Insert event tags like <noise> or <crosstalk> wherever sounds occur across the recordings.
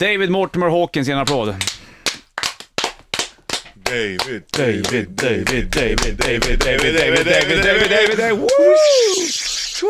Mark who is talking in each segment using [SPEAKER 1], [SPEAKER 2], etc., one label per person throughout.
[SPEAKER 1] David Mortimer Hawkins, ge en applåd.
[SPEAKER 2] David,
[SPEAKER 1] David, David, David, David, David, David, David, David, David, David, Woo!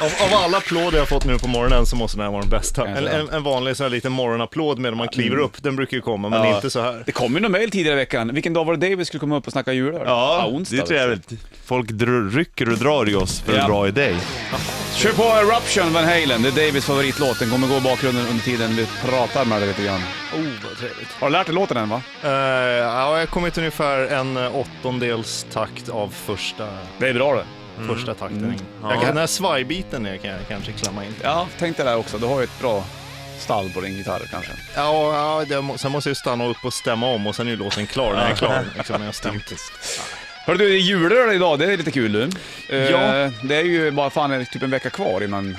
[SPEAKER 3] Av, av alla applåder jag fått nu på morgonen så måste den här vara den bästa. En, en, en vanlig sån här liten morgonapplåd medan man kliver upp, den brukar ju komma, men inte så här.
[SPEAKER 1] Det kom ju någon mejl tidigare i veckan. Vilken dag var det David skulle komma upp och snacka julöl?
[SPEAKER 4] Ja,
[SPEAKER 1] onsdag.
[SPEAKER 4] det är trevligt. Folk dr- rycker och drar i oss för en
[SPEAKER 1] Ja.
[SPEAKER 4] bra idé.
[SPEAKER 3] Oh,
[SPEAKER 1] liksom. Kör på Eruption, Van Halen. Det är Davids favoritlåt. Den kommer gå i bakgrunden under tiden vi pratar med dig lite grann.
[SPEAKER 3] Oh, vad trevligt.
[SPEAKER 1] Har du lärt dig låten än va?
[SPEAKER 3] Eh, ja, jag har kommit ungefär en eh, åttondels takt av första,
[SPEAKER 1] Det är bra det.
[SPEAKER 3] första takten.
[SPEAKER 4] Ja.
[SPEAKER 3] Jag kan, den här svajbiten där kan jag kanske klämma in.
[SPEAKER 1] Ja, tänkte det där också. Du har ju ett bra stall på din gitarr kanske.
[SPEAKER 3] Ja, ja det, må- sen måste jag ju stanna upp och stämma om och sen är ju låten klar när jag är klar. Liksom, när jag har stämt.
[SPEAKER 1] Hörru du, det är julöl idag. Det är lite kul du. Eh,
[SPEAKER 3] Ja.
[SPEAKER 1] Det är ju bara fan typ en vecka kvar innan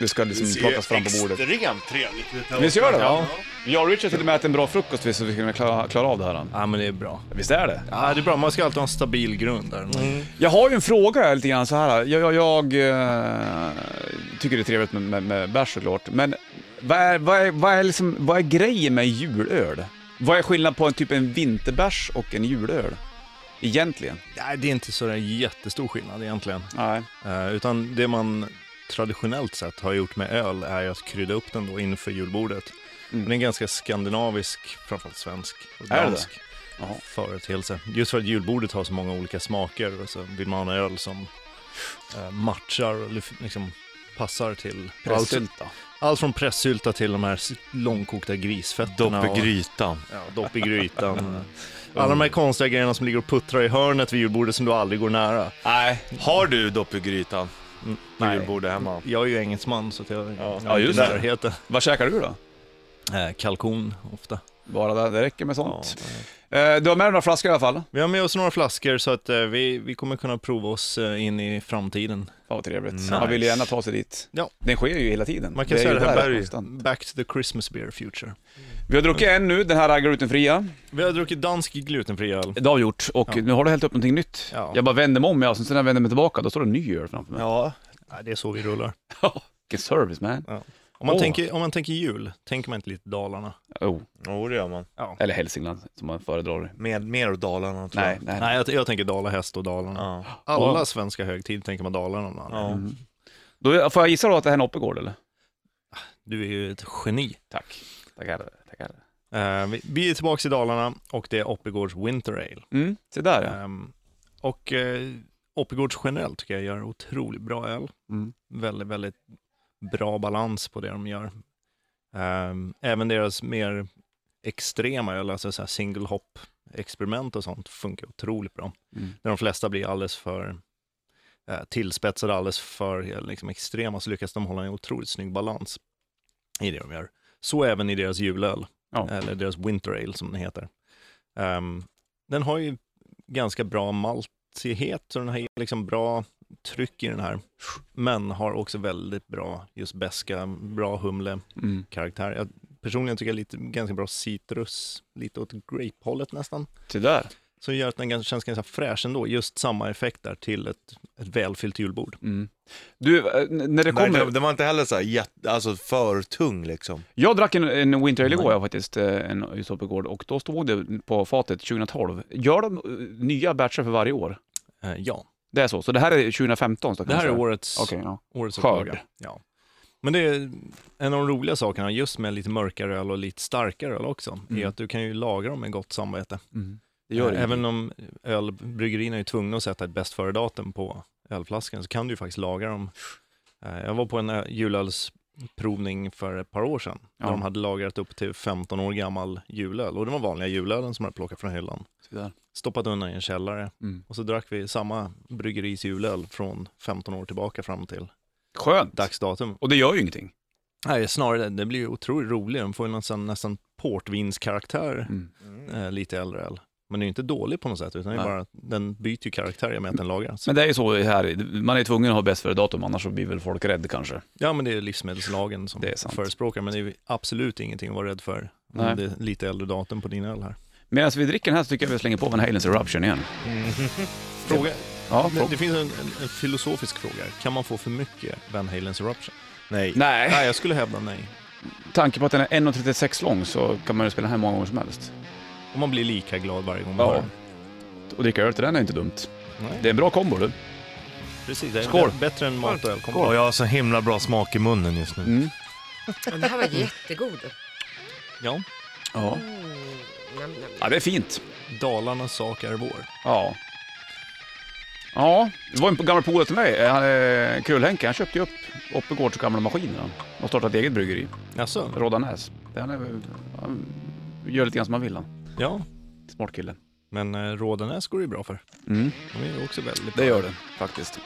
[SPEAKER 1] det ska liksom plockas fram på bordet.
[SPEAKER 2] Extremt trevligt ut här.
[SPEAKER 1] Visst gör det? Ja. Jag och Richard till och med ätit en bra frukost visst, så vi ska kunna klara, klara av det här.
[SPEAKER 3] Ja, men det är bra.
[SPEAKER 1] Visst är det?
[SPEAKER 3] Ja, det är bra. Man ska alltid ha en stabil grund där.
[SPEAKER 2] Mm.
[SPEAKER 1] Jag har ju en fråga här, lite grann så här. Jag, jag, jag eh, tycker det är trevligt med, med, med bärs såklart, men vad är, vad, är, vad, är liksom, vad är grejen med julöl? Vad är skillnaden på en typ en vinterbärs och en julöl? Egentligen?
[SPEAKER 3] Nej, det är inte så där jättestor skillnad egentligen.
[SPEAKER 1] Nej.
[SPEAKER 3] Eh, utan det man traditionellt sett har gjort med öl är att krydda upp den då inför julbordet.
[SPEAKER 1] Mm.
[SPEAKER 3] Den är en ganska skandinavisk, framförallt svensk och
[SPEAKER 1] Är det
[SPEAKER 3] dansk
[SPEAKER 1] Jaha.
[SPEAKER 3] företeelse. Just för att julbordet har så många olika smaker och så vill man ha en öl som eh, matchar och lyf- liksom passar till allt,
[SPEAKER 1] Pressylta.
[SPEAKER 3] allt från pressylta till de här s- långkokta grisfötterna.
[SPEAKER 4] Dopp i
[SPEAKER 3] och-
[SPEAKER 4] grytan.
[SPEAKER 3] Ja, dopp
[SPEAKER 1] <laughs>
[SPEAKER 3] i grytan. Alla de här konstiga grejerna som ligger och puttrar i hörnet vid julbordet som du aldrig går nära.
[SPEAKER 4] Nej. Har du dopp i grytan?
[SPEAKER 3] Mm,
[SPEAKER 4] På julbordet hemma?
[SPEAKER 3] Jag är ju engelsman så att jag
[SPEAKER 4] Ja.
[SPEAKER 3] jag är
[SPEAKER 1] Ja,
[SPEAKER 3] inte
[SPEAKER 1] just
[SPEAKER 3] i
[SPEAKER 1] det.
[SPEAKER 3] närheten.
[SPEAKER 1] Vad käkar du då?
[SPEAKER 3] Eh, Kalkon ofta.
[SPEAKER 1] Bara det, det räcker med
[SPEAKER 4] Ja.
[SPEAKER 1] sånt. Eh, Du har med dig några flaskor i alla fall. Fan
[SPEAKER 3] Vi har med oss några flaskor så att eh, vi, vi kommer kunna prova oss eh, in i framtiden.
[SPEAKER 1] vad trevligt.
[SPEAKER 4] Nice.
[SPEAKER 1] Man vill ju gärna ta sig dit.
[SPEAKER 3] Ja.
[SPEAKER 1] Den sker ju hela tiden.
[SPEAKER 3] Man kan
[SPEAKER 1] är
[SPEAKER 3] säga
[SPEAKER 1] ju
[SPEAKER 3] det här
[SPEAKER 1] där
[SPEAKER 4] berget.
[SPEAKER 1] konstant.
[SPEAKER 3] Back to the Christmas beer future.
[SPEAKER 1] Vi har druckit en nu, den här glutenfria.
[SPEAKER 3] Vi har druckit dansk glutenfri öl.
[SPEAKER 1] Det har vi gjort och nu har du hällt upp någonting nytt.
[SPEAKER 3] Ja.
[SPEAKER 1] Jag bara vänder mig om, ja, sen när jag vänder mig tillbaka då står det en ny öl framför mig.
[SPEAKER 3] Ja. Nej, det är så vi rullar.
[SPEAKER 1] Vilken service man.
[SPEAKER 3] Om man,
[SPEAKER 1] Åh.
[SPEAKER 3] tänker, om man tänker jul, tänker man inte lite Dalarna?
[SPEAKER 1] Oh.
[SPEAKER 4] Jo, det gör man.
[SPEAKER 1] Eller Hälsingland som man föredrar.
[SPEAKER 4] Med, mer åt Dalarna tror
[SPEAKER 1] Nej,
[SPEAKER 4] jag.
[SPEAKER 1] nej.
[SPEAKER 3] Nej, jag, jag tänker dalahäst och Dalarna.
[SPEAKER 4] Ja.
[SPEAKER 3] Alla svenska högtid tänker man Dalarna. om man-
[SPEAKER 4] Ja.
[SPEAKER 1] Mm. Då får jag gissa då att det här är en Oppegård eller?
[SPEAKER 3] Du är ju ett geni.
[SPEAKER 1] Tack. Tackar. Tackar.
[SPEAKER 3] Eh, vi, vi är tillbaka i Dalarna och det är Oppigårds Winter Ale.
[SPEAKER 1] Mm, se där ja.
[SPEAKER 3] Ehm, och eh, Oppigårds generellt tycker jag gör otroligt bra öl.
[SPEAKER 1] Mm.
[SPEAKER 3] Väldigt, väldigt bra balans på det de gör. Ehm, även deras mer extrema öl, alltså så här single hop experiment och sånt, funkar otroligt bra.
[SPEAKER 1] Mm.
[SPEAKER 3] När de flesta blir alldeles för eh, tillspetsade, alldeles för eh, liksom, extrema, så lyckas de hålla en otroligt snygg balans i det de gör. Så även i deras julöl,
[SPEAKER 1] Ja.
[SPEAKER 3] eller deras winter ale som den heter. Ehm, den har ju ganska bra maltighet, så den har liksom bra tryck i den här. Men har också väldigt bra just beska, bra humlekaraktär.
[SPEAKER 1] Mm.
[SPEAKER 3] Jag, personligen tycker jag lite, ganska bra citrus, lite åt grape-hållet nästan.
[SPEAKER 1] Se där.
[SPEAKER 3] Så gör att den ganska- känns ganska fräsch ändå, just samma effekt där till ett, ett välfyllt julbord.
[SPEAKER 1] Mm. Du, eh, n- när det
[SPEAKER 4] Nej,
[SPEAKER 1] kommer...
[SPEAKER 4] den, den var inte heller så här jätte, alltså för tung liksom.
[SPEAKER 1] Jag drack en, en Winter Ale igår jag faktiskt, eh, en just Oppegård, och då stod det på fatet 2012. Gör de eh, nya batcher för varje år?
[SPEAKER 3] Eh, ja,
[SPEAKER 1] Det är så, så det här är 2015? Så kan
[SPEAKER 3] det
[SPEAKER 1] man
[SPEAKER 3] här är
[SPEAKER 1] säga.
[SPEAKER 3] årets,
[SPEAKER 1] Okej, ja.
[SPEAKER 3] årets
[SPEAKER 1] skörd.
[SPEAKER 3] upplaga. Ja. Men det är en av de roliga sakerna, just med lite mörkare öl och lite starkare öl också, är
[SPEAKER 1] Mm.
[SPEAKER 3] att du kan ju lagra dem med gott samvete.
[SPEAKER 1] Det gör det.
[SPEAKER 3] Eh, Även om ölbryggerierna är tvungna att sätta ett bäst före-datum på ölflaskan så kan du ju faktiskt lagra dem. Eh, Jag var på en ö- julölsprovning för ett par år sedan
[SPEAKER 1] Ja.
[SPEAKER 3] där de hade lagrat upp till 15 år gammal julöl och det var vanliga julölen som de hade plockat från hyllan.
[SPEAKER 1] Se där.
[SPEAKER 3] Stoppat undan i en källare
[SPEAKER 1] Mm.
[SPEAKER 3] och så drack vi samma bryggeris julöl från 15 år tillbaka fram till
[SPEAKER 1] Skönt.
[SPEAKER 3] dags datum.
[SPEAKER 1] Och det gör ju ingenting.
[SPEAKER 3] Nej, snarare det blir ju otroligt roligt. Den får ju nästan, nästan portvinskaraktär
[SPEAKER 1] Mm.
[SPEAKER 3] eh, lite äldre öl. Men den är ju inte dålig på något sätt, utan det är
[SPEAKER 1] Nej.
[SPEAKER 3] bara, att den byter ju karaktär i och med att den lagras.
[SPEAKER 1] Men det är ju så här, man är tvungen att ha bäst före-datum, annars så blir väl folk rädda kanske.
[SPEAKER 3] Ja, men det är livsmedelslagen som
[SPEAKER 1] Det är sant.
[SPEAKER 3] förespråkar, men det är ju absolut ingenting att vara rädd för. om
[SPEAKER 1] Nej.
[SPEAKER 3] Det är lite äldre datum på din öl här.
[SPEAKER 1] Medan vi dricker den här så tycker jag vi slänger på Van Halens Eruption igen.
[SPEAKER 3] Fråga,
[SPEAKER 1] Ja,
[SPEAKER 3] det,
[SPEAKER 1] fråga.
[SPEAKER 3] det finns en, en, en filosofisk fråga. Kan man få för mycket Van Halens Eruption?
[SPEAKER 4] Nej.
[SPEAKER 1] Nej.
[SPEAKER 3] Nej, jag skulle hävda nej.
[SPEAKER 1] tanke på att den är 1.36 lång så kan man ju spela den här många gånger som helst.
[SPEAKER 3] Och man blir lika glad varje gång man hör
[SPEAKER 1] Ja.
[SPEAKER 3] den.
[SPEAKER 1] Och dricka öl till den är inte dumt.
[SPEAKER 3] Nej,
[SPEAKER 1] Det är en bra kombo du.
[SPEAKER 3] Precis, det är
[SPEAKER 1] Skål.
[SPEAKER 3] Skål. bättre än mat och öl. Kom
[SPEAKER 4] Och
[SPEAKER 3] på.
[SPEAKER 4] jag har så himla bra smak i munnen just nu.
[SPEAKER 1] Mm.
[SPEAKER 5] Men Den här var jättegod.
[SPEAKER 3] Mm. Ja,
[SPEAKER 1] Ja.
[SPEAKER 5] Mm, nam, nam.
[SPEAKER 1] ja, det är fint.
[SPEAKER 3] Dalarnas sak är vår.
[SPEAKER 1] Ja. Ja, det var en gammal polare till mig, han, eh, Krull-Henke, han köpte ju upp Oppegårds gamla maskiner han. och startade ett eget bryggeri,
[SPEAKER 3] Jaså?
[SPEAKER 1] Rådanäs. Han, är, han gör lite grann som han vill han.
[SPEAKER 3] Ja.
[SPEAKER 1] Smart kille.
[SPEAKER 3] Men eh, Rådenäs går det ju bra för.
[SPEAKER 1] Mm.
[SPEAKER 3] De är ju också väldigt
[SPEAKER 1] Det
[SPEAKER 3] bra.
[SPEAKER 1] gör det faktiskt.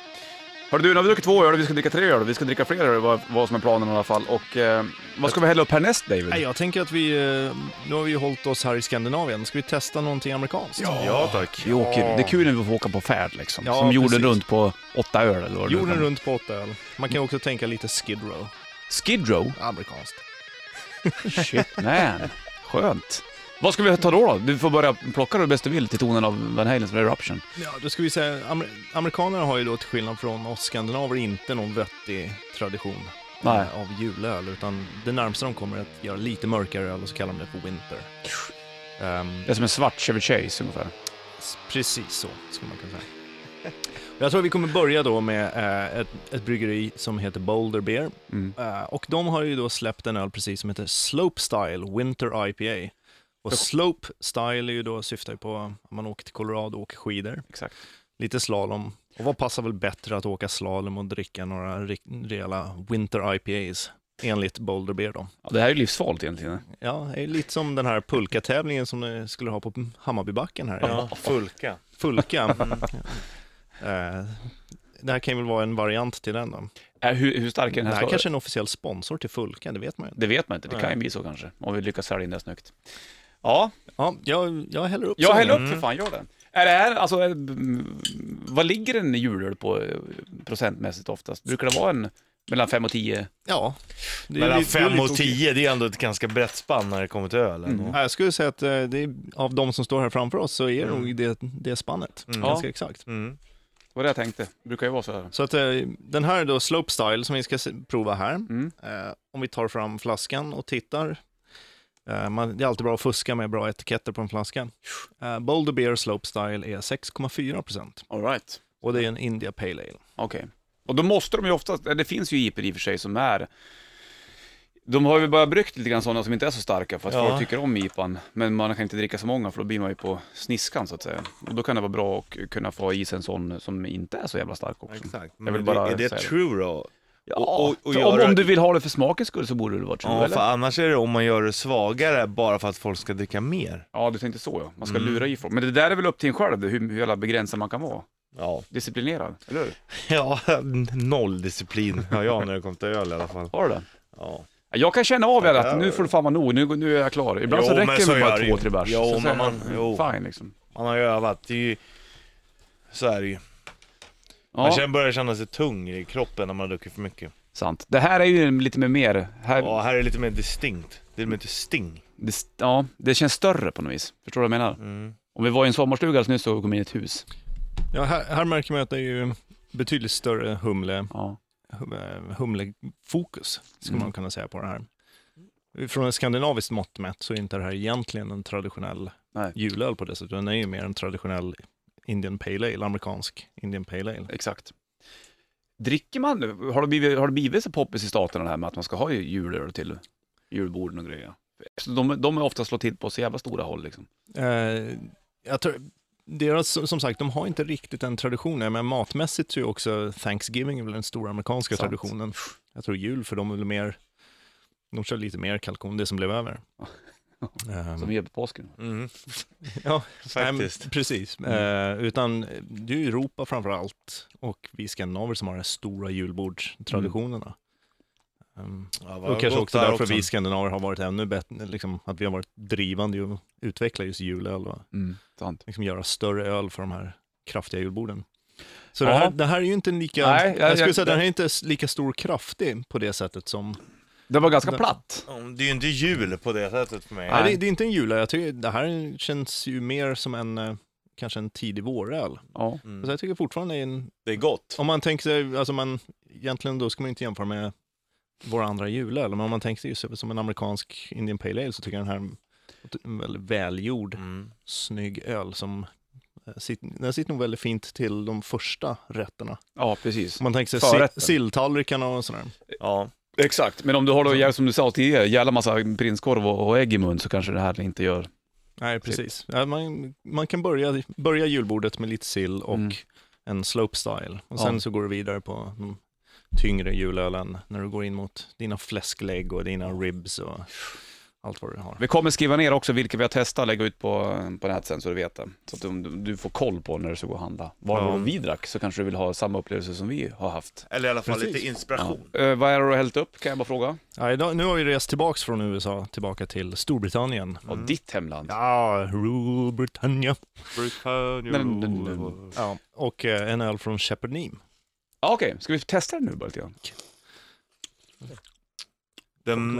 [SPEAKER 1] Hörru du, nu har vi druckit två öl, vi ska dricka tre öl, vi ska dricka fler öl, vad, vad som är planen i alla fall. Och eh, vad ska vi hälla upp härnäst David?
[SPEAKER 3] Nej, jag tänker att vi, eh, nu har vi ju hållit oss här i Skandinavien. Ska vi testa någonting amerikanskt?
[SPEAKER 4] Ja tack.
[SPEAKER 1] Vi åker, det är kul när vi får åka på färd liksom,
[SPEAKER 3] Ja,
[SPEAKER 1] som jorden
[SPEAKER 3] precis.
[SPEAKER 1] runt på åtta öl eller vad det nu
[SPEAKER 3] Jorden
[SPEAKER 1] kan-
[SPEAKER 3] runt på åtta öl. Man kan ju också tänka lite Skid Row.
[SPEAKER 1] Skid Row?
[SPEAKER 3] Amerikanskt.
[SPEAKER 1] Shit man, skönt. Vad ska vi ta då? då? Du får börja plocka det bäst du vill till tonen av Van Halens Eruption.
[SPEAKER 3] Ja, då ska vi säga, amer amerikanerna har ju då till skillnad från oss skandinaver inte någon vettig tradition eh,
[SPEAKER 1] Nej.
[SPEAKER 3] av julöl, utan det närmsta de kommer är att göra lite mörkare öl och så kallar de det för Winter. Ehm,
[SPEAKER 1] Det är som en svart Chevy Chase ungefär.
[SPEAKER 3] s- precis så, skulle man kunna säga. Jag tror vi kommer börja då med eh, ett, ett bryggeri som heter Boulder Beer.
[SPEAKER 1] Mm.
[SPEAKER 3] Eh, och de har ju då släppt en öl precis som heter Slope Style Winter IPA. Och Slope Style är ju då, syftar ju på att man åker till Colorado och åker skidor.
[SPEAKER 1] Exakt.
[SPEAKER 3] Lite slalom. Och vad passar väl bättre att åka slalom och dricka några ri- rejäla Winter IPAs? Enligt Boulder Beer då.
[SPEAKER 1] Ja, det här är ju livsfarligt egentligen.
[SPEAKER 3] Ja, det är lite som den här pulkatävlingen som ni skulle ha på Hammarbybacken här.
[SPEAKER 4] Ja, fulka.
[SPEAKER 3] Fulka.
[SPEAKER 4] <laughs> Mm.
[SPEAKER 3] Eh, Det här kan väl vara en variant till den då.
[SPEAKER 1] Äh, hur, hur stark är
[SPEAKER 3] Det
[SPEAKER 1] den här?
[SPEAKER 3] här
[SPEAKER 1] slagen?
[SPEAKER 3] kanske är en officiell sponsor till Fulka, det vet man ju inte.
[SPEAKER 1] Det vet man inte, det kan ju bli så kanske. Om vi lyckas sälja in det snyggt. Ja,
[SPEAKER 3] Ja, jag, jag häller upp.
[SPEAKER 1] jag
[SPEAKER 3] sen.
[SPEAKER 1] häller upp för fan, gör det. Är det här, alltså, är, mm, vad ligger en julöl på eh, procentmässigt oftast? Brukar det vara en mellan 5 och 10?
[SPEAKER 3] Ja. Det är
[SPEAKER 4] Mellan
[SPEAKER 3] lite- det är
[SPEAKER 4] 5
[SPEAKER 3] lite
[SPEAKER 4] och
[SPEAKER 3] okej.
[SPEAKER 4] 10, det är ändå ett ganska brett spann när det kommer till öl. ändå.
[SPEAKER 3] Ja, Jag skulle säga att eh, det är, av de som står här framför oss så är det
[SPEAKER 4] Mm.
[SPEAKER 3] nog det, det spannet.
[SPEAKER 4] Mm.
[SPEAKER 3] Ganska
[SPEAKER 1] Ja.
[SPEAKER 3] exakt.
[SPEAKER 4] Mm.
[SPEAKER 1] Vad det jag tänkte, brukar ju vara så här.
[SPEAKER 3] Så att eh, den här då, Slope Style, som vi ska se- prova här.
[SPEAKER 1] Mm.
[SPEAKER 3] Eh, om vi tar fram flaskan och tittar. Eh, man, det är alltid bra att fuska med bra etiketter på en flaska. Eh, Boulder Beer Slope Style är 6,4 procent
[SPEAKER 1] All right.
[SPEAKER 3] och det är en India Pale Ale.
[SPEAKER 1] Okej. Och då måste de ju oftast, eh, det finns ju IPor i och för sig som är de har ju börjat bryggt lite grann sådana som inte är så starka för att
[SPEAKER 4] Ja.
[SPEAKER 1] folk tycker om IPan. Men man kan inte dricka så många för då blir man ju på sniskan så att säga. Och då kan det vara bra att kunna få i sig en sån som inte är så jävla stark också.
[SPEAKER 4] Exakt.
[SPEAKER 1] Jag vill
[SPEAKER 4] Men
[SPEAKER 1] bara
[SPEAKER 4] det, är det
[SPEAKER 1] säga det.
[SPEAKER 4] true då?
[SPEAKER 1] Ja,
[SPEAKER 4] Och- och- och
[SPEAKER 1] för om,
[SPEAKER 4] göra-
[SPEAKER 1] om du vill ha det för smakens skull så borde det vara true,
[SPEAKER 4] Ja,
[SPEAKER 1] eller?
[SPEAKER 4] för annars är det om man gör det svagare bara för att folk ska dricka mer.
[SPEAKER 1] Ja, du tänkte så ja. Man
[SPEAKER 4] Mm.
[SPEAKER 1] ska lura i folk. Men det där är väl upp till en själv, hur, hur jävla begränsad man kan vara.
[SPEAKER 4] Ja,
[SPEAKER 1] Disciplinerad, eller hur?
[SPEAKER 4] <laughs> ja noll disciplin har jag när det kommer till öl i alla fall.
[SPEAKER 1] Har du det?
[SPEAKER 4] Ja.
[SPEAKER 1] Jag kan känna av det att nu får det fan vara nog, nu, nu är jag klar. Ibland
[SPEAKER 4] Jo,
[SPEAKER 1] så
[SPEAKER 4] men
[SPEAKER 1] räcker
[SPEAKER 4] så
[SPEAKER 1] det
[SPEAKER 4] gör
[SPEAKER 1] bara
[SPEAKER 4] det
[SPEAKER 1] två,
[SPEAKER 4] ju.
[SPEAKER 1] tre bärs.
[SPEAKER 4] Jo,
[SPEAKER 1] Så
[SPEAKER 4] men
[SPEAKER 1] säger
[SPEAKER 4] man-
[SPEAKER 1] jag,
[SPEAKER 4] jo.
[SPEAKER 1] Fine liksom.
[SPEAKER 4] Man har ju övat, det är ju... Så är det ju. Man
[SPEAKER 1] Ja,
[SPEAKER 4] känner, börjar känna sig tung i kroppen när man har druckit för mycket.
[SPEAKER 1] sant. Det här är ju lite med mer, här,
[SPEAKER 4] Ja, här är det lite mer distinkt. Det är lite sting.
[SPEAKER 1] det, ja, det känns större på något vis. Förstår du vad jag menar?
[SPEAKER 4] Mm.
[SPEAKER 1] Om vi var i en sommarstuga alldeles nyss och kom in i ett hus.
[SPEAKER 3] Ja, här, här märker man att det är ju betydligt större humle,
[SPEAKER 1] Ja.
[SPEAKER 3] hum- eh, humlefokus, skulle
[SPEAKER 1] Mm.
[SPEAKER 3] man kunna säga på det här. Från ett skandinaviskt mått mätt så är inte det här egentligen en traditionell
[SPEAKER 1] Nej.
[SPEAKER 3] julöl på det sättet, utan det är ju mer en traditionell Indian Pale Ale, amerikansk Indian Pale Ale.
[SPEAKER 1] Exakt. Dricker man, har det blivit, har det blivit så poppis i staterna det här med att man ska ha julöl till julborden och grejer? Så de, de är ofta slå till på så jävla stora håll liksom.
[SPEAKER 3] Eh, jag tror, deras, som sagt, de har inte riktigt en tradition, men matmässigt så är ju också Thanksgiving väl den stora amerikanska
[SPEAKER 1] Sant.
[SPEAKER 3] traditionen. Jag tror jul för dem är väl mer, de kör lite mer kalkon, det som blev
[SPEAKER 4] <laughs>
[SPEAKER 3] över. Ehm,
[SPEAKER 1] Som vi gör på påsken.
[SPEAKER 4] Mm.
[SPEAKER 3] <laughs> Ja, nej, men
[SPEAKER 4] faktiskt. Mm.
[SPEAKER 3] precis. Eh, utan eh, det är ju Europa framför allt och vi skandinaver som har de här stora julbordstraditionerna. Ehm,
[SPEAKER 4] Mm. Ja, vad
[SPEAKER 3] och kanske
[SPEAKER 4] gott
[SPEAKER 3] också
[SPEAKER 4] där
[SPEAKER 3] därför vi skandinaver har varit ännu bättre, liksom, att vi har varit drivande i att utveckla just julöl. Va?
[SPEAKER 1] Mm. Sant.
[SPEAKER 3] liksom göra större öl för de här kraftiga julborden. Så
[SPEAKER 1] Ja.
[SPEAKER 3] det, här, det här är ju inte en lika,
[SPEAKER 1] Nej, jag-
[SPEAKER 3] jag, skulle
[SPEAKER 1] jag-
[SPEAKER 3] säga att den här är inte s- lika stor och kraftig på det sättet som,
[SPEAKER 1] Det var ganska
[SPEAKER 3] Det-
[SPEAKER 1] platt.
[SPEAKER 4] Ja, Mm, Det är ju inte jul på det sättet för mig.
[SPEAKER 1] Nej.
[SPEAKER 3] nej. det, det är inte en julöl, jag tycker det här känns ju mer som en, eh, kanske en tidig våröl.
[SPEAKER 1] Ja.
[SPEAKER 3] Så jag tycker fortfarande, är en,
[SPEAKER 4] Mm. Det är gott.
[SPEAKER 3] om man tänker sig, alltså man, egentligen då ska man ju inte jämföra med våra andra julöl. Men om man tänker sig just som en amerikansk Indian Pale Ale så tycker jag den här är en väldigt välgjord,
[SPEAKER 4] Mm.
[SPEAKER 3] snygg öl som eh, sit- den sitter nog väldigt fint till de första rätterna.
[SPEAKER 1] Ja, precis.
[SPEAKER 3] Om man tänker sig
[SPEAKER 1] Förrätten.
[SPEAKER 3] si- silltallrikarna och sådär.
[SPEAKER 4] Ja,
[SPEAKER 1] Exakt, men om du har då, jävla- som du sa tidigare, jävla massa prinskorv och och ägg i mun så kanske det här inte gör...
[SPEAKER 3] Nej, precis. Ja, man, man kan börja, börja julbordet med lite sill och
[SPEAKER 1] Mm.
[SPEAKER 3] en slopestyle. Och
[SPEAKER 1] Ja.
[SPEAKER 3] sen så går du vidare på de tyngre julölen när du går in mot dina fläsklägg och dina ribs och allt vad du har.
[SPEAKER 1] Vi kommer skriva ner också vilka vi har testat och lägga ut på, på nätet sen så du vet det. Så att du, du får koll på när du ska gå och handla. Vad det
[SPEAKER 4] Ja.
[SPEAKER 1] var vi drack så kanske du vill ha samma upplevelse som vi har haft.
[SPEAKER 2] Eller i alla fall
[SPEAKER 3] Precis.
[SPEAKER 2] lite inspiration.
[SPEAKER 1] Eh, vad är det du har hällt upp kan jag bara fråga?
[SPEAKER 3] Ja, idag, nu har vi rest tillbaks från USA tillbaka till Storbritannien.
[SPEAKER 1] Av ditt hemland.
[SPEAKER 3] Ja, Rule Britannia.
[SPEAKER 4] Britannia
[SPEAKER 1] Men-
[SPEAKER 4] Rule.
[SPEAKER 3] Ja, och eh, en öl från Shepherd Neame.
[SPEAKER 1] Ja, Ah, Okej, ska vi testa den nu bara lite grann?
[SPEAKER 4] Den,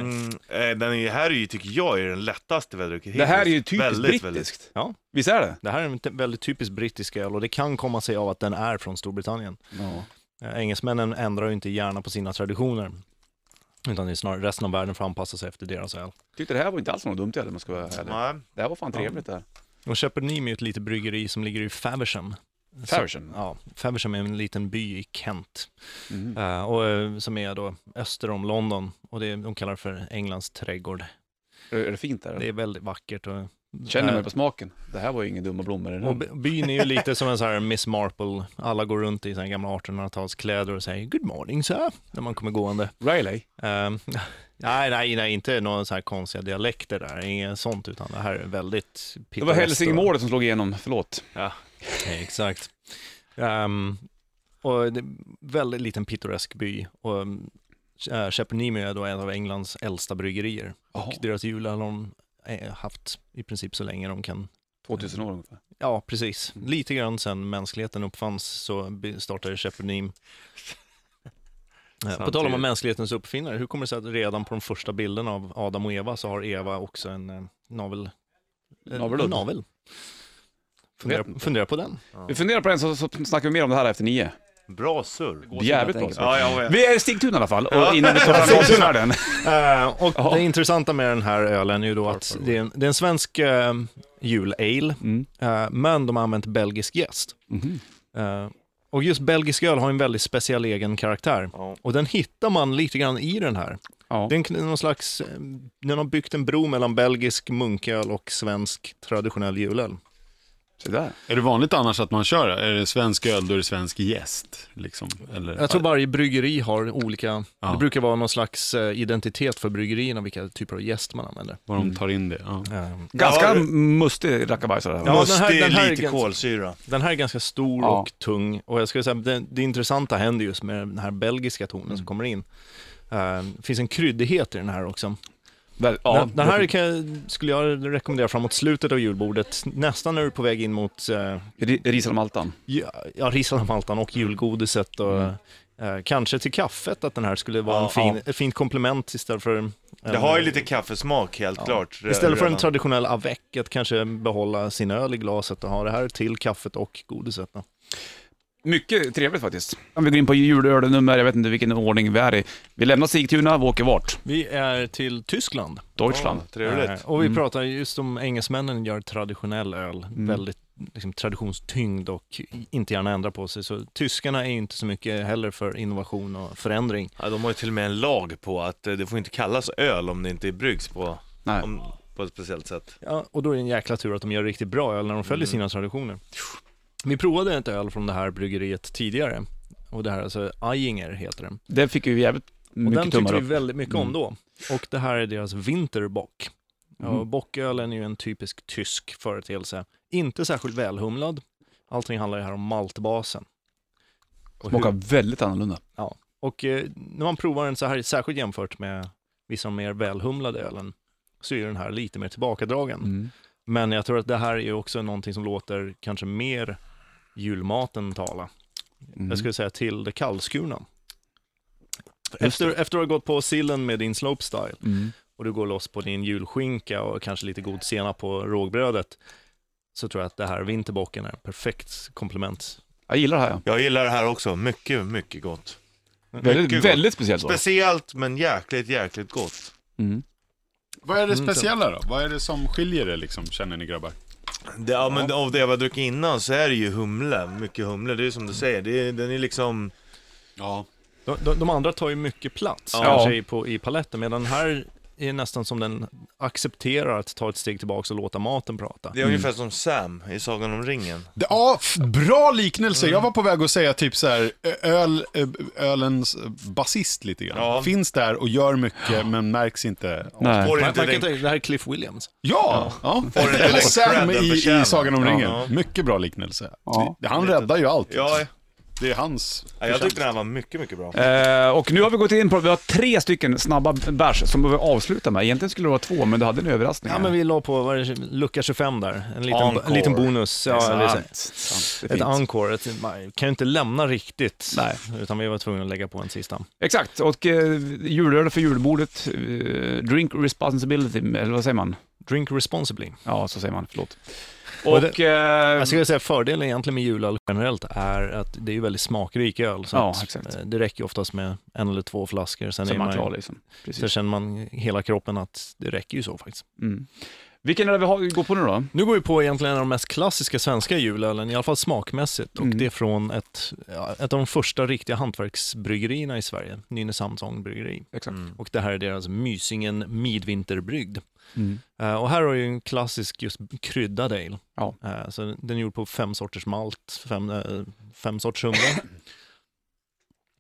[SPEAKER 4] eh, den är, här är ju, tycker jag är den lättaste vi har druckit
[SPEAKER 1] Det här är ju
[SPEAKER 4] hittills.
[SPEAKER 1] typiskt
[SPEAKER 4] Väldigt, väldigt.
[SPEAKER 1] brittiskt.
[SPEAKER 3] Ja.
[SPEAKER 1] Visst är det?
[SPEAKER 3] Det här är en t- väldigt typisk brittisk öl och det kan komma sig av att den är från Storbritannien.
[SPEAKER 1] Ja.
[SPEAKER 3] Eh, Engelsmännen ändrar ju inte gärna på sina traditioner, utan det är snarare resten av världen får anpassa sig efter deras öl.
[SPEAKER 1] Tyckte det här var inte alls något dumt heller om man ska vara ärlig.
[SPEAKER 4] Nej.
[SPEAKER 1] Det här var fan trevligt det här.
[SPEAKER 3] Och Shepherd Neame är ju ett litet bryggeri som ligger i Faversham.
[SPEAKER 1] Faversham.
[SPEAKER 3] Så- Ja, Faversham är en liten by i Kent,
[SPEAKER 1] Mm.
[SPEAKER 3] eh, och, eh, som är då öster om London, och det är- de kallar det för Englands trädgård.
[SPEAKER 1] Är det fint där?
[SPEAKER 3] Det är väldigt vackert. Och,
[SPEAKER 1] Mm. Känner
[SPEAKER 3] eh,
[SPEAKER 1] mig på smaken. Det här var ju inga dumma blommor i den.
[SPEAKER 3] Och by- byn är ju lite som en så här Miss Marple. Alla går runt i sina gamla 1800-talskläder och säger ”Good morning sir” när man kommer gående.
[SPEAKER 1] Riley.
[SPEAKER 3] Ehm, <laughs> nej, nej, nej, inte några så här konstiga dialekter där, inget sånt, utan det här är väldigt
[SPEAKER 1] Det var Hälsingmålet som slog igenom, förlåt.
[SPEAKER 3] Nej, exakt. Ehm, och det är en väldigt liten pittoresk by och äh, Shepherd Neame är då en av Englands äldsta bryggerier.
[SPEAKER 1] Jaha,
[SPEAKER 3] Och deras jul har de eh, haft i princip så länge de kan
[SPEAKER 1] 2000 år ungefär.
[SPEAKER 3] Ja, precis. Lite grann sen mänskligheten uppfanns så by- startade Shepard Neame. Eh, På tal om
[SPEAKER 4] Samtidigt.
[SPEAKER 3] mänsklighetens uppfinnare, hur kommer det sig att redan på de första bilderna av Adam och Eva så har Eva också en eh, navel? eh,
[SPEAKER 1] Navelludd.
[SPEAKER 3] en navel.
[SPEAKER 1] Vet
[SPEAKER 3] Fundera, fundera på den.
[SPEAKER 1] Vi funderar på den så, så snackar vi mer om det här efter nio.
[SPEAKER 4] Bra surr.
[SPEAKER 1] Jävligt bra.
[SPEAKER 2] Ja, jag vet.
[SPEAKER 1] Vi är i Stigtuna i alla fall, och innan vi
[SPEAKER 3] <laughs>
[SPEAKER 1] tar fram avsnittsvärlden.
[SPEAKER 3] Eh, och
[SPEAKER 1] Ja.
[SPEAKER 3] det intressanta med den här ölen är ju då att det är en, det är en svensk eh, jul-ale,
[SPEAKER 1] Mm.
[SPEAKER 3] eh, men de har använt belgisk jäst.
[SPEAKER 1] Mhm.
[SPEAKER 3] Eh, och just belgisk öl har en väldigt speciell egen karaktär.
[SPEAKER 4] Ja.
[SPEAKER 3] Och den hittar man lite grann i den här.
[SPEAKER 1] Ja.
[SPEAKER 3] Den, kn- någon slags, eh, den har byggt en bro mellan belgisk munköl och svensk traditionell julöl.
[SPEAKER 1] Se där.
[SPEAKER 6] Är det vanligt annars att man kör? Är det svensk öl, då är det svensk gäst. Liksom. Eller,
[SPEAKER 3] Jag tror varje bryggeri har olika,
[SPEAKER 6] Ja.
[SPEAKER 3] det brukar vara någon slags eh, identitet för bryggerierna, vilka typer av gäst man använder.
[SPEAKER 6] var de tar in det. Ja.
[SPEAKER 3] Eh,
[SPEAKER 1] Ganska
[SPEAKER 2] Ja, det-
[SPEAKER 1] mustig rackabajsare det här. va?
[SPEAKER 3] Ja,
[SPEAKER 2] Måste
[SPEAKER 3] den här- den här är
[SPEAKER 2] lite
[SPEAKER 3] ganska-
[SPEAKER 2] kolsyra.
[SPEAKER 3] Den här är ganska stor
[SPEAKER 1] Ja.
[SPEAKER 3] och tung och jag skulle säga det, det intressanta händer just med den här belgiska tonen som kommer in. Eh, Det finns en kryddighet i den här också.
[SPEAKER 1] Väl- Ja.
[SPEAKER 3] den, den här kan, skulle jag rekommendera framåt slutet av julbordet, nästan när du är på väg in mot eh,
[SPEAKER 1] Ri- Ris och maltan.
[SPEAKER 3] Ja, ja Risalamaltan och julgodiset och eh, kanske till kaffet att den här skulle vara
[SPEAKER 2] Ja,
[SPEAKER 3] en fin, ett fint komplement istället för... en- eh,
[SPEAKER 2] Det har ju lite kaffesmak helt klart. re-
[SPEAKER 3] Istället för en
[SPEAKER 2] redan.
[SPEAKER 3] traditionell avec, att kanske behålla sin öl i glaset och ha det här till kaffet och godiset. Då.
[SPEAKER 1] Mycket trevligt faktiskt. Om vi går in på julölnummer, jag vet inte vilken ordning vi är i. Vi lämnar Sigtuna, vi åker vart?
[SPEAKER 3] Vi är till Tyskland.
[SPEAKER 1] Deutschland.
[SPEAKER 2] Ja, Trevligt.
[SPEAKER 3] Eh, och vi
[SPEAKER 1] Mm.
[SPEAKER 3] pratar just om engelsmännen gör traditionell öl, väldigt liksom, traditionstyngd och inte gärna ändra på sig. Så tyskarna är ju inte så mycket heller för innovation och förändring.
[SPEAKER 4] Ja, de har ju till och med en lag på att eh, det får inte kallas öl om det inte är bryggs på,
[SPEAKER 1] Nej.
[SPEAKER 4] om, på ett speciellt sätt.
[SPEAKER 3] Ja, och då är det en jäkla tur att de gör riktigt bra öl när de
[SPEAKER 1] Mm.
[SPEAKER 3] följer sina traditioner. Vi provade ett öl från det här bryggeriet tidigare. Och det här, alltså Ajinger heter den. Och
[SPEAKER 1] Det fick ju jävligt
[SPEAKER 3] den
[SPEAKER 1] mycket tummar
[SPEAKER 3] tyckte vi
[SPEAKER 1] upp.
[SPEAKER 3] väldigt mycket om
[SPEAKER 1] Mm.
[SPEAKER 3] då. Och det här är deras Winterbock. Ja,
[SPEAKER 1] Mm.
[SPEAKER 3] och Bockölen är ju en typisk tysk företeelse. Inte särskilt välhumlad. Allting handlar ju här om maltbasen. Och,
[SPEAKER 1] Smakar
[SPEAKER 3] hur,
[SPEAKER 1] väldigt annorlunda.
[SPEAKER 3] och eh, när man provar den så här, särskilt jämfört med vissa av de mer välhumlade ölen, så är ju den här lite mer tillbakadragen.
[SPEAKER 1] Mm.
[SPEAKER 3] Men jag tror att det här är ju också någonting som låter kanske mer julmaten tala.
[SPEAKER 1] Mm.
[SPEAKER 4] Mm.
[SPEAKER 3] Jag skulle säga till det kallskurna. Efter, efter att ha gått på sillen med din slopestyle
[SPEAKER 1] Mm.
[SPEAKER 3] och du går loss på din julskinka och kanske lite god senap på rågbrödet så tror jag att det här vinterbocken är ett perfekt komplement.
[SPEAKER 1] Jag gillar det här ja.
[SPEAKER 2] Jag gillar det här också. Mycket, mycket gott.
[SPEAKER 1] Väldigt,
[SPEAKER 4] gott.
[SPEAKER 1] väldigt speciellt då.
[SPEAKER 4] Speciellt men jäkligt, jäkligt gott.
[SPEAKER 1] Mm.
[SPEAKER 6] Vad är det speciella då? Vad är det som skiljer det liksom, känner ni grabbar?
[SPEAKER 4] Det, ja, men av det jag har druckit innan så är det ju humle, mycket humle. Det är som du säger, det är, den är liksom...
[SPEAKER 6] Ja.
[SPEAKER 3] De, de, de andra tar ju mycket plats
[SPEAKER 1] Ja.
[SPEAKER 3] kanske i, på, i paletten, medan den här är nästan som den accepterar att ta ett steg tillbaka och låta maten prata.
[SPEAKER 4] Det är ungefär som Sam i Sagan om ringen.
[SPEAKER 6] Det, ja, f- bra liknelse. Jag var på väg att säga typ så här, ö- öl, ö- ölens basist lite grann.
[SPEAKER 4] Ja.
[SPEAKER 6] Finns där och gör mycket men märks inte.
[SPEAKER 1] Nej.
[SPEAKER 4] Får
[SPEAKER 3] Man,
[SPEAKER 4] inte
[SPEAKER 3] man kan
[SPEAKER 4] den...
[SPEAKER 3] tänka, det här är Cliff Williams.
[SPEAKER 6] Ja, ja.
[SPEAKER 4] Får inte
[SPEAKER 6] Eller
[SPEAKER 4] den
[SPEAKER 6] Sam
[SPEAKER 4] credden
[SPEAKER 6] i, i
[SPEAKER 4] förtjänar.
[SPEAKER 6] Sagan om ringen.
[SPEAKER 4] Ja.
[SPEAKER 6] Mycket bra liknelse.
[SPEAKER 1] Ja.
[SPEAKER 6] Det, han räddar ju allt.
[SPEAKER 4] Ja,
[SPEAKER 6] Det är hans.
[SPEAKER 4] ja, jag tyckte den här var mycket, mycket bra.
[SPEAKER 1] Eh, och nu har vi gått in på, vi har tre stycken snabba bärs som vi avslutar med. Egentligen skulle det vara två, men du hade en överraskning.
[SPEAKER 3] Ja, men vi la på vad är det, lucka 25 där, en liten,
[SPEAKER 4] Encore.
[SPEAKER 3] en liten bonus. Ja, eller så-
[SPEAKER 1] sant, sant, det är
[SPEAKER 3] ett
[SPEAKER 1] fint.
[SPEAKER 3] encore, ett, man kan ju inte lämna riktigt,
[SPEAKER 1] Nej.
[SPEAKER 3] utan vi var tvungna att lägga på en sista.
[SPEAKER 1] Exakt, och eh, julöl för julbordet, eh, drink responsibility, eller vad säger man?
[SPEAKER 3] Drink responsibly.
[SPEAKER 1] Ja, så säger man, förlåt.
[SPEAKER 3] Och det-
[SPEAKER 1] Och... Eh,
[SPEAKER 3] Jag skulle säga fördelen egentligen med julöl generellt är att det är ju väldigt smakrik öl. Så
[SPEAKER 1] Ja,
[SPEAKER 3] att,
[SPEAKER 1] exakt.
[SPEAKER 3] eh, Det räcker ju oftast med en eller två flaskor, sen,
[SPEAKER 1] så är man klar
[SPEAKER 3] ju-
[SPEAKER 1] liksom.
[SPEAKER 3] sen
[SPEAKER 1] Precis.
[SPEAKER 3] känner man hela kroppen att det räcker ju så faktiskt.
[SPEAKER 1] Mm. Vilken är det vi har, går på nu då?
[SPEAKER 3] Nu går vi på egentligen en av de mest klassiska svenska julölen, i alla fall smakmässigt.
[SPEAKER 1] Mm.
[SPEAKER 3] Och det är från ett, ja, ett av de första riktiga hantverksbryggerierna i Sverige, Nynäshamns ångbryggeri.
[SPEAKER 1] Exakt.
[SPEAKER 3] Och det här är deras Mysingen Midvinterbrygd.
[SPEAKER 1] Mm.
[SPEAKER 3] Eh, och här har ju en klassisk just kryddad ale.
[SPEAKER 1] Ja.
[SPEAKER 3] Eh, så den är gjord på fem sorters malt, fem, eh, fem sorters humle.
[SPEAKER 1] <coughs>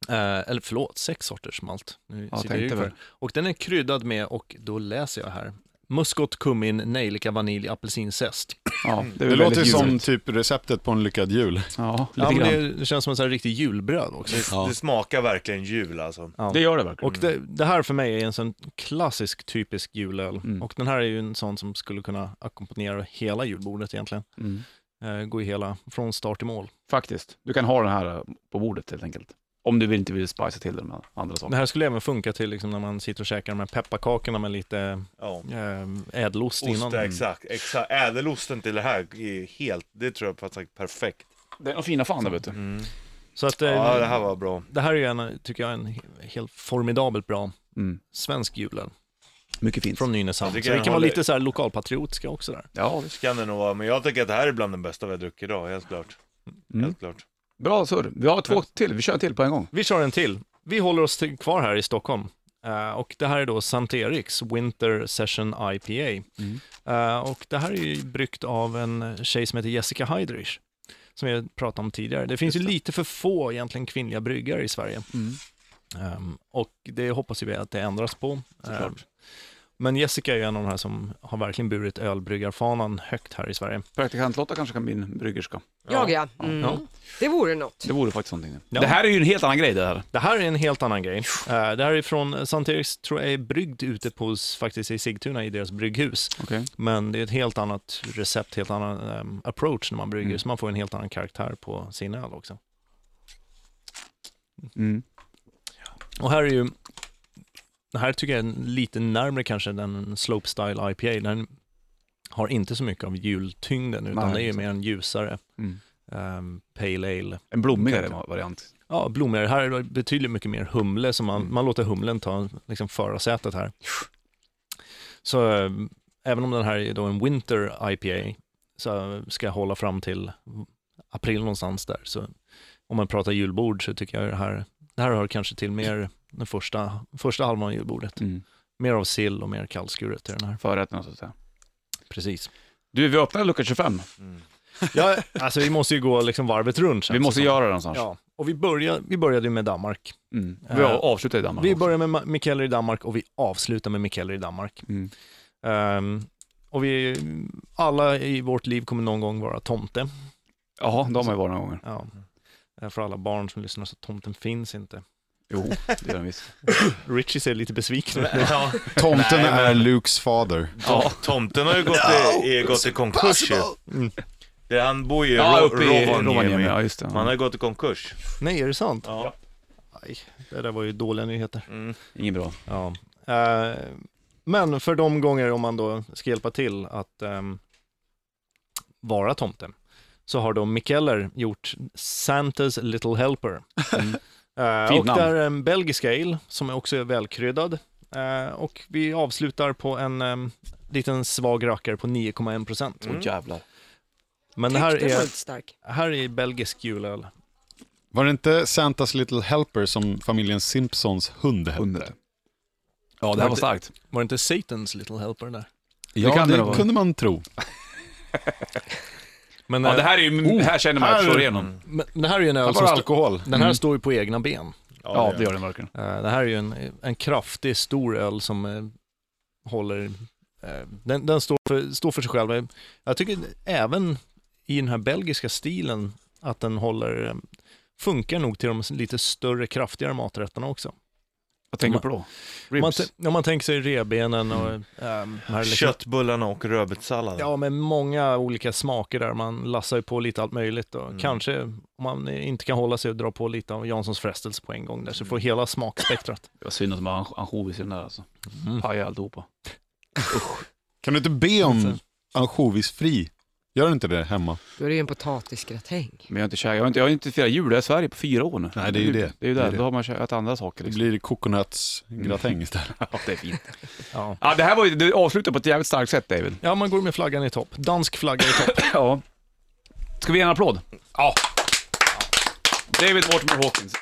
[SPEAKER 3] Eh, eller förlåt, sex sorters malt. Nu
[SPEAKER 1] Ja,
[SPEAKER 3] sitter jag ju
[SPEAKER 1] tänkte
[SPEAKER 3] för.
[SPEAKER 1] väl.
[SPEAKER 3] Och den är kryddad med, och då läser jag här, muskot, kummin, nejlika, vanilj, apelsinzest.
[SPEAKER 1] Ja, det är
[SPEAKER 6] Det
[SPEAKER 1] väl
[SPEAKER 6] låter ju
[SPEAKER 1] väldigt
[SPEAKER 6] som
[SPEAKER 1] ljuvligt.
[SPEAKER 6] typ receptet på en lyckad jul.
[SPEAKER 1] Ja,
[SPEAKER 3] Ja,
[SPEAKER 1] lite
[SPEAKER 3] men
[SPEAKER 1] grann.
[SPEAKER 3] det, det känns som en sån här riktig julbröd också.
[SPEAKER 4] Det, det smakar verkligen jul alltså.
[SPEAKER 3] Ja.
[SPEAKER 1] Det gör det verkligen.
[SPEAKER 3] och det, det här för mig är en sån klassisk typisk julöl.
[SPEAKER 1] Mm.
[SPEAKER 3] Och den här är ju en sån som skulle kunna ackompanjera hela julbordet egentligen.
[SPEAKER 1] Mm.
[SPEAKER 3] Eh, gå i hela, från start till mål.
[SPEAKER 1] Faktiskt. Du kan ha den här eh, på bordet helt enkelt. Om du vill- inte vill spicea till det med andra saker.
[SPEAKER 3] Det här skulle även funka till liksom, när man sitter och käkar de här pepparkakorna med lite
[SPEAKER 4] Ja.
[SPEAKER 3] eh, ädelost
[SPEAKER 4] Ost,
[SPEAKER 3] innan.
[SPEAKER 4] exakt, exakt. Ädelosten till det här är helt, det tror jag faktiskt är perfekt.
[SPEAKER 1] Det är de fina fan där, vet du.
[SPEAKER 3] Så att, eh,
[SPEAKER 4] Ja, det här var bra.
[SPEAKER 3] är ju en, tycker jag, en he- helt formidabelt bra
[SPEAKER 1] Mm.
[SPEAKER 3] svensk julöl
[SPEAKER 1] Mycket fint.
[SPEAKER 3] från
[SPEAKER 4] Jag
[SPEAKER 3] Nynäshamn. Så vi
[SPEAKER 4] tycker
[SPEAKER 3] kan
[SPEAKER 4] jag
[SPEAKER 3] vara
[SPEAKER 4] håller-
[SPEAKER 3] lite så här lokalpatriotiska också där.
[SPEAKER 1] Ja, det-
[SPEAKER 4] Kan det nog vara, men jag tycker att det här är bland den bästa vi har druckit idag, helt klart.
[SPEAKER 1] Mm.
[SPEAKER 4] Helt klart.
[SPEAKER 1] bra surr. Vi har två till. Vi kör till på en gång.
[SPEAKER 3] Vi kör en till. Vi håller oss till, kvar här i Stockholm. Eh, och det här är då Sankt Eriks Winter Session IPA.
[SPEAKER 1] Mm.
[SPEAKER 3] Eh, och det här är ju bryggt av en tjej som heter Jessica Heidrich, som vi pratade om tidigare. Det finns ju lite för få egentligen kvinnliga bryggare i Sverige.
[SPEAKER 1] Mm,
[SPEAKER 3] Ehm, och det hoppas ju vi att det ändras på. Ehm, men Jessica är ju en av de här som har verkligen burit ölbryggarfanan högt här i Sverige.
[SPEAKER 1] Praktikant-Lotta kanske kan bli en bryggerska.
[SPEAKER 5] Jag ja. Mm.
[SPEAKER 3] Ja.
[SPEAKER 5] Det vore något.
[SPEAKER 1] Det vore faktiskt någonting.
[SPEAKER 3] Ja.
[SPEAKER 1] Det här är ju en helt annan grej det här.
[SPEAKER 3] Det här är en helt annan grej. Eh, det här är från Sankt Eriks, tror jag är bryggd ute på, s- faktiskt i Sigtuna i deras brygghus.
[SPEAKER 1] Okej.
[SPEAKER 3] Men det är ett helt annat recept, helt annan ehm, approach när man brygger,
[SPEAKER 1] Mm.
[SPEAKER 3] så man får en helt annan karaktär på sin öl också.
[SPEAKER 1] Mm.
[SPEAKER 3] Och här är ju, det här tycker jag är lite närmare kanske den Slopestyle IPA. Den har inte så mycket av jultyngden, utan
[SPEAKER 1] Nej,
[SPEAKER 3] det är ju
[SPEAKER 1] exakt.
[SPEAKER 3] mer en ljusare
[SPEAKER 1] Mm.
[SPEAKER 3] ehm, pale ale.
[SPEAKER 1] En blommigare variant.
[SPEAKER 3] Ja, blommigare. Här är det betydligt mycket mer humle, så man,
[SPEAKER 1] Mm.
[SPEAKER 3] man låter humlen ta liksom förarsätet här. Så eh, även om den här är då en Winter IPA, så ska jag hålla fram till april någonstans där. Så om man pratar julbord så tycker jag det här, det här hör kanske till mer den första, första halvan av julbordet.
[SPEAKER 1] Mm.
[SPEAKER 3] Mer av sill och mer kallskuret till den här.
[SPEAKER 1] Förrätten så att säga.
[SPEAKER 3] Precis.
[SPEAKER 1] Du, vi öppnar lucka 25.
[SPEAKER 4] Mm.
[SPEAKER 3] Ja, alltså vi måste ju gå liksom varvet runt. känns
[SPEAKER 1] Vi
[SPEAKER 3] det
[SPEAKER 1] måste
[SPEAKER 3] som.
[SPEAKER 1] göra det någonstans.
[SPEAKER 3] Ja, och vi, börjar, vi började ju med Danmark.
[SPEAKER 1] Mm. Vi
[SPEAKER 3] Eh,
[SPEAKER 1] avslutar i Danmark
[SPEAKER 3] Vi
[SPEAKER 1] också.
[SPEAKER 3] börjar med Ma- Mikeller i Danmark och vi avslutar med Mikeller i Danmark.
[SPEAKER 1] Mm.
[SPEAKER 3] Ehm, och vi, alla i vårt liv kommer någon gång vara tomte.
[SPEAKER 1] Jaha, de har ju varit några gånger.
[SPEAKER 3] Ja. Eh, För alla barn som lyssnar så tomten finns inte.
[SPEAKER 1] Jo, det gör de visst.
[SPEAKER 3] Richie ser lite besviken ut.
[SPEAKER 4] <laughs> Ja,
[SPEAKER 6] Tomten
[SPEAKER 4] Nej, men-
[SPEAKER 6] är Lukes fader.
[SPEAKER 1] Ja.
[SPEAKER 4] tomten har ju gått i, är gått i konkurs ju.
[SPEAKER 3] Mm.
[SPEAKER 4] Det- Han bor ju i
[SPEAKER 1] Ja,
[SPEAKER 4] Ro-
[SPEAKER 1] uppe i Rovaniemi.
[SPEAKER 4] Rovaniemi.
[SPEAKER 1] Ja, just det.
[SPEAKER 4] Han har
[SPEAKER 1] Ja.
[SPEAKER 4] ju gått i konkurs.
[SPEAKER 3] Nej, är det sant?
[SPEAKER 4] Ja.
[SPEAKER 3] Aj, det där var ju dåliga nyheter.
[SPEAKER 4] Mm.
[SPEAKER 1] Inget bra.
[SPEAKER 3] Ja. Ehm, men för de gånger om man då ska hjälpa till att ehm, vara
[SPEAKER 1] Mm. <laughs>
[SPEAKER 3] tomte, så har då Mikeller gjort Santas Little Helper. Eh,
[SPEAKER 1] Fint
[SPEAKER 3] och
[SPEAKER 1] namn.
[SPEAKER 3] det är en belgisk ale som också är välkryddad. Eh, och vi avslutar på en em, liten svag rackare på 9,1 procent.
[SPEAKER 1] Åh jävlar.
[SPEAKER 3] Men det
[SPEAKER 5] Mm. Tyckte
[SPEAKER 3] här
[SPEAKER 5] den var
[SPEAKER 3] är,
[SPEAKER 5] inte stark.
[SPEAKER 3] här är belgisk julöl.
[SPEAKER 6] Var det inte Santas Little Helper som familjen Simpsons hund hette?
[SPEAKER 1] Hundra. Ja, det här var starkt.
[SPEAKER 3] Var det inte Satans little helper där?
[SPEAKER 6] Ja,
[SPEAKER 1] Det kan
[SPEAKER 6] det,
[SPEAKER 1] det vara.
[SPEAKER 6] kunde man tro.
[SPEAKER 3] Men,
[SPEAKER 1] Ja,
[SPEAKER 3] eh,
[SPEAKER 1] det här är ju, här känner man att det slår
[SPEAKER 4] Mm.
[SPEAKER 1] igenom.
[SPEAKER 3] men det här är ju en
[SPEAKER 6] Det
[SPEAKER 3] öl
[SPEAKER 6] var
[SPEAKER 3] som stå,
[SPEAKER 6] Alltså, alkohol.
[SPEAKER 3] den
[SPEAKER 1] Mm.
[SPEAKER 3] här står ju på egna ben.
[SPEAKER 1] Ja, det gör det verkligen.
[SPEAKER 3] Eh, Det här är ju en, en kraftig, stor öl som eh, håller... eh, Den, den står, för, står för sig själv. Jag tycker även i den här belgiska stilen att den håller... eh, Funkar nog till de lite större, kraftigare maträtterna också.
[SPEAKER 1] Vad tänker du på då?
[SPEAKER 3] Om man,
[SPEAKER 1] Ribs.
[SPEAKER 3] t- om man tänker sig revbenen och... eh, de här liksom-
[SPEAKER 4] Köttbullarna och rödbetssalladen.
[SPEAKER 3] Ja, med många olika smaker där. Man lassar ju på lite allt möjligt. Och
[SPEAKER 4] Mm.
[SPEAKER 3] Kanske, om man inte kan hålla sig och dra på lite av Janssons frestelse på en gång där, så får hela smakspektrat.
[SPEAKER 1] Det var synd att de har ansjo- ansjovis i den där alltså. Pajade alltihopa.
[SPEAKER 6] Kan du inte be om ansjovisfri? Gör inte det hemma?
[SPEAKER 5] Då är det ju en potatisgratäng.
[SPEAKER 1] Men jag har inte käkat, jag har inte, jag har inte firat jul i Sverige på fyra år nu.
[SPEAKER 6] Nej, det är ju det.
[SPEAKER 1] Det är ju
[SPEAKER 6] Det
[SPEAKER 1] där,
[SPEAKER 6] är det.
[SPEAKER 1] då har man käkat andra saker
[SPEAKER 6] Det
[SPEAKER 1] liksom.
[SPEAKER 6] blir coconutsgratäng istället.
[SPEAKER 1] Ja, det är fint.
[SPEAKER 3] Ja.
[SPEAKER 1] Ja, det här var ju, du avslutade på ett jävligt starkt sätt David.
[SPEAKER 3] ja, man går med flaggan i topp. Dansk flagga i topp.
[SPEAKER 1] Ja. Ska vi ge en applåd? Ja. David Mortimer Hawkins.